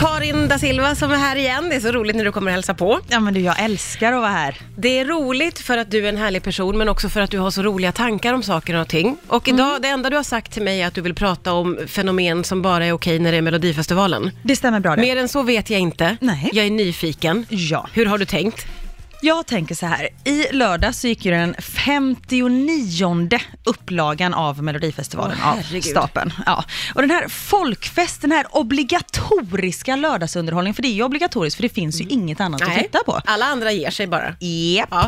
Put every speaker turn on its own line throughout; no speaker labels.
Karin da Silva som är här igen. Det är så roligt när du kommer och hälsa på.
Ja men du, jag älskar att vara här.
Det är roligt för att du är en härlig person, men också för att du har så roliga tankar om saker och ting. Och
Mm.
idag, det enda du har sagt till mig är att du vill prata om fenomen som bara är okej när det är Melodifestivalen.
Det stämmer bra det.
Mer än så vet jag inte.
Nej.
Jag är nyfiken.
Ja.
Hur har du tänkt?
Jag tänker så här, i lördag så gick ju den 59 upplagan av Melodifestivalen
Åh,
av
herregud.
stapeln. Ja. Och den här folkfest, den här obligatoriska lördagsunderhållningen, för det är ju obligatoriskt för det finns
Mm.
ju inget annat att titta på.
Alla andra ger sig bara.
Japp.
Ja.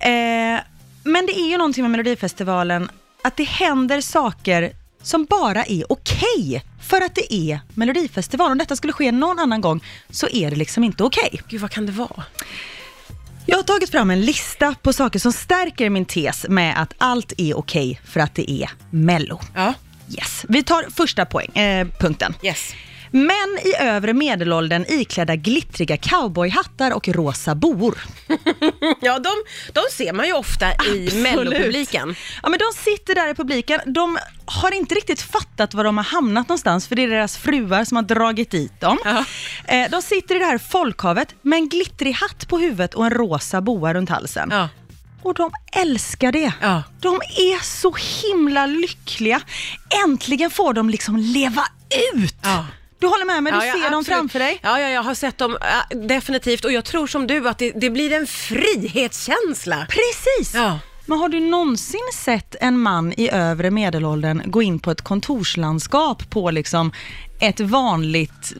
Eh, men det är ju någonting med Melodifestivalen, att det händer saker som bara är okej. För att det är Melodifestivalen. Om detta skulle ske någon annan gång så är det liksom inte okej.
Gud, vad kan det vara?
Jag har tagit fram en lista på saker som stärker min tes med att allt är okej för att det är Mello.
Ja.
Yes. Vi tar första poäng, eh, punkten.
Yes.
Män i övre medelåldern iklädda glittriga cowboyhattar och rosa boor.
Ja, de, de ser man ju ofta i
Absolut.
mellopubliken.
Ja, men de sitter där i publiken. De har inte riktigt fattat var de har hamnat någonstans, för det är deras fruar som har dragit dit dem.
Ja.
Eh, De sitter i det här folkhavet med en glittrig hatt på huvudet och en rosa boa runt halsen.
Ja.
Och de älskar det.
Ja.
De är så himla lyckliga. Äntligen får de liksom leva ut.
Ja.
Du håller med mig, du
ja,
ser dem
absolut.
framför dig.
Ja, ja, jag har sett dem ja, definitivt och jag tror som du att det, det blir en frihetskänsla.
Precis!
Ja.
Men har du någonsin sett en man i övre medelåldern gå in på ett kontorslandskap på liksom ett vanligt,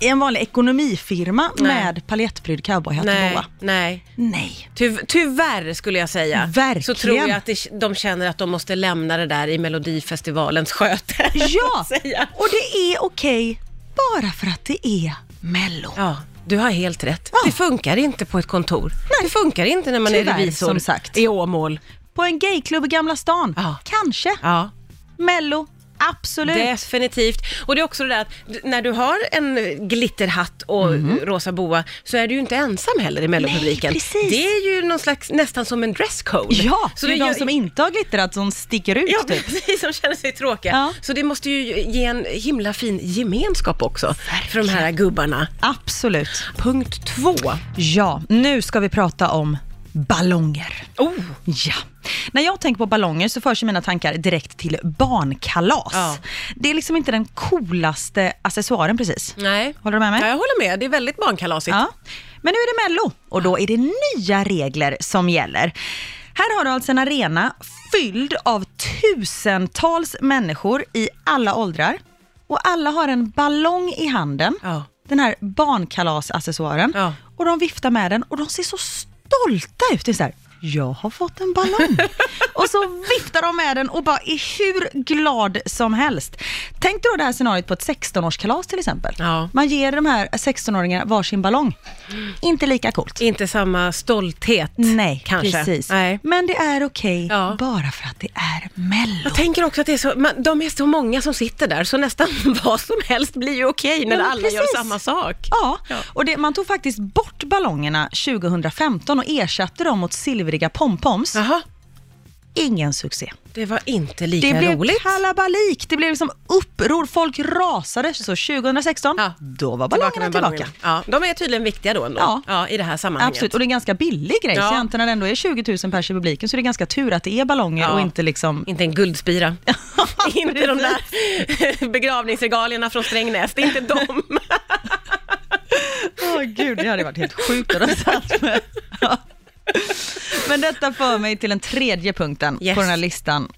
i en vanlig ekonomifirma
Nej.
med paljettprydd cowboyhatt och
Nej,
boa?
nej.
Nej.
Ty- tyvärr skulle jag säga.
Verkligen.
Så tror jag att det, de känner att de måste lämna det där i Melodifestivalens sköte.
Ja,
Säga.
och det är okej bara för att det är Mello.
Ja, du har helt rätt.
Ja.
Det funkar inte på ett kontor. Det funkar inte när man är
Tyvärr,
revisor
som sagt.
i Åmål.
På en gayklubb i Gamla stan?
Ja.
Kanske.
Ja.
Mello? Absolut.
Definitivt. Och det är också det där att d- när du har en glitterhatt och rosa boa så är du ju inte ensam heller i mellopubliken.
Mhm. Nej, precis.
Det är ju någon slags, nästan som en dresscode.
Ja, så det är
gör-
de som inte har glittrat som sticker ut
Ja,
typ.
precis, som känner sig tråkiga.
Ja.
Så det måste ju ge en himla fin gemenskap också för de här gubbarna.
Absolut.
Punkt två.
Ja, nu ska vi prata om ballonger.
Oh,
Ja. När jag tänker på ballonger så förs ju mina tankar direkt till barnkalas.
Ja.
Det är liksom inte den coolaste accessoaren precis.
nej.
Håller du med mig?
Ja, jag håller med. Det är väldigt barnkalasigt.
Ja. Men nu är det Mello och då är det nya regler som gäller. Här har du alltså en arena fylld av tusentals människor i alla åldrar och alla har en ballong i handen,
Ja.
den här barnkalasaccessoaren
Ja.
och de viftar med den och de ser så stolta ut. Det är så här, jag har fått en ballong. och så viftar de med den och bara är hur glad som helst. Tänk dig då det här scenariot på ett 16-årskalas till exempel.
Ja.
Man ger de här 16-åringarna varsin ballong. Inte lika coolt.
Inte samma stolthet
Nej,
kanske.
precis.
Nej.
Men det är okej
Ja.
bara för att det är Mello.
Jag tänker också att det är så, man, de är så många som sitter där, så nästan vad som helst blir ju okej när
Ja, men
alla gör
precis.
samma sak.
Ja, och det, man tog faktiskt bort ballongerna 2015 och ersatte dem mot silvriga pompoms.
Jaha,
Ingen succé.
det var inte
Det
lika
blev
roligt.
kalabalik, det blev liksom uppror, folk rasade. Så 2016,
Ja.
då var
Tillbaka
ballongerna
med
tillbaka.
ballongerna. Ja, de är tydligen viktiga då ändå, ja.
Ja.
i det här sammanhanget.
Absolut, och det är en ganska billig grej.
Ja.
Så egentligen när det ändå är 20 000 pers i publiken så är det ganska tur att det är ballonger
Ja.
och inte liksom...
Inte en guldspira. inte de där begravningsregalierna från Strängnäs, det är inte dem.
Åh gud, det hade varit helt sjukt att ha satt med. Ja. Men detta för mig till den tredje punkten
Yes.
på den här listan.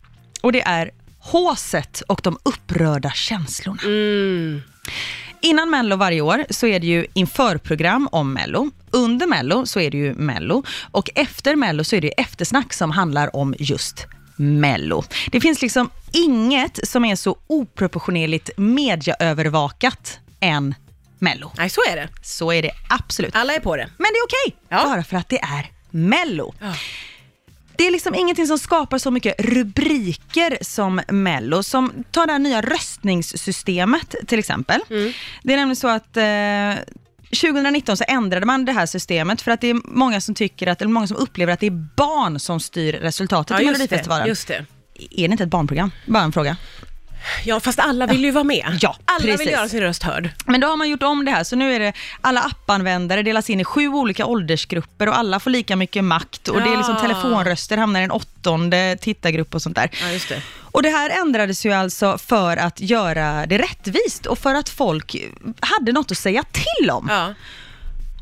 Och det är håset och de upprörda känslorna. Innan Mello varje år så är det ju införprogram om Mello. Under Mello så är det ju Mello. Och efter Mello så är det ju eftersnack som handlar om just Mello. Det finns liksom inget som är så oproportionerligt mediaövervakat än Mello.
Nej, så är det.
Så är det absolut.
Alla är på det.
Men det är okej,
Ja.
bara för att det är Mello.
Ja.
Det är liksom ingenting som skapar så mycket rubriker som Mello, som tar det här nya röstningssystemet till exempel.
Mm.
Det är nämligen så att eh, 2019 så ändrade man det här systemet för att det är många som tycker att, eller många som upplever att det är barn som styr resultatet
Ja,
i
just det.
Melodifestivalen.
Just det.
Är det inte ett barnprogram? Bara en fråga.
Ja, fast alla vill ju vara med.
Ja,
alla
precis. Mm.
vill göra sin röst hörd.
Men då har man gjort om det här, så nu är det alla appanvändare delas in i sju olika åldersgrupper och alla får lika mycket makt och det är liksom
Ja.
telefonröster hamnar i en åttonde tittargrupp och sånt där.
Ja, just det.
Och det här ändrades ju alltså för att göra det rättvist och för att folk hade något att säga till om.
Ja.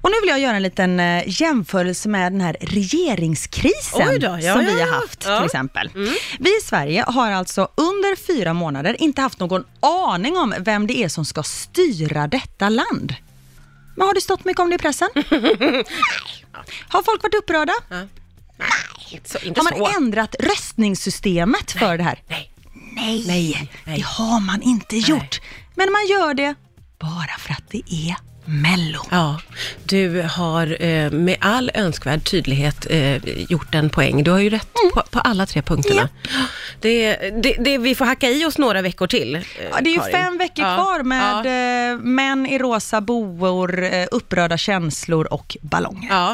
Och nu vill jag göra en liten eh, jämförelse med den här regeringskrisen
Oj då, ja,
som
ja,
vi har
ja.
haft
Ja. Mm.
till exempel. Vi i Sverige har alltså under fyra månader inte haft någon aning om vem det är som ska styra detta land. Men har det stått mycket om det i pressen? Nej. har folk varit upprörda?
Så, inte
Har
så.
man ändrat röstningssystemet för det här?
Nej.
Nej,
Nej.
det har man inte gjort. Men man gör det bara för att det är Mello.
Ja, du har eh, med all önskvärd tydlighet eh, gjort en poäng. Du har ju rätt
Mm.
på, på alla tre punkterna. Det, det, det, vi får hacka i oss några veckor till. eh,
Ja, det är ju
Karin.
fem veckor
Ja,
kvar med
Ja.
eh, män i rosa boor, eh, upprörda känslor och ballonger.
Ja,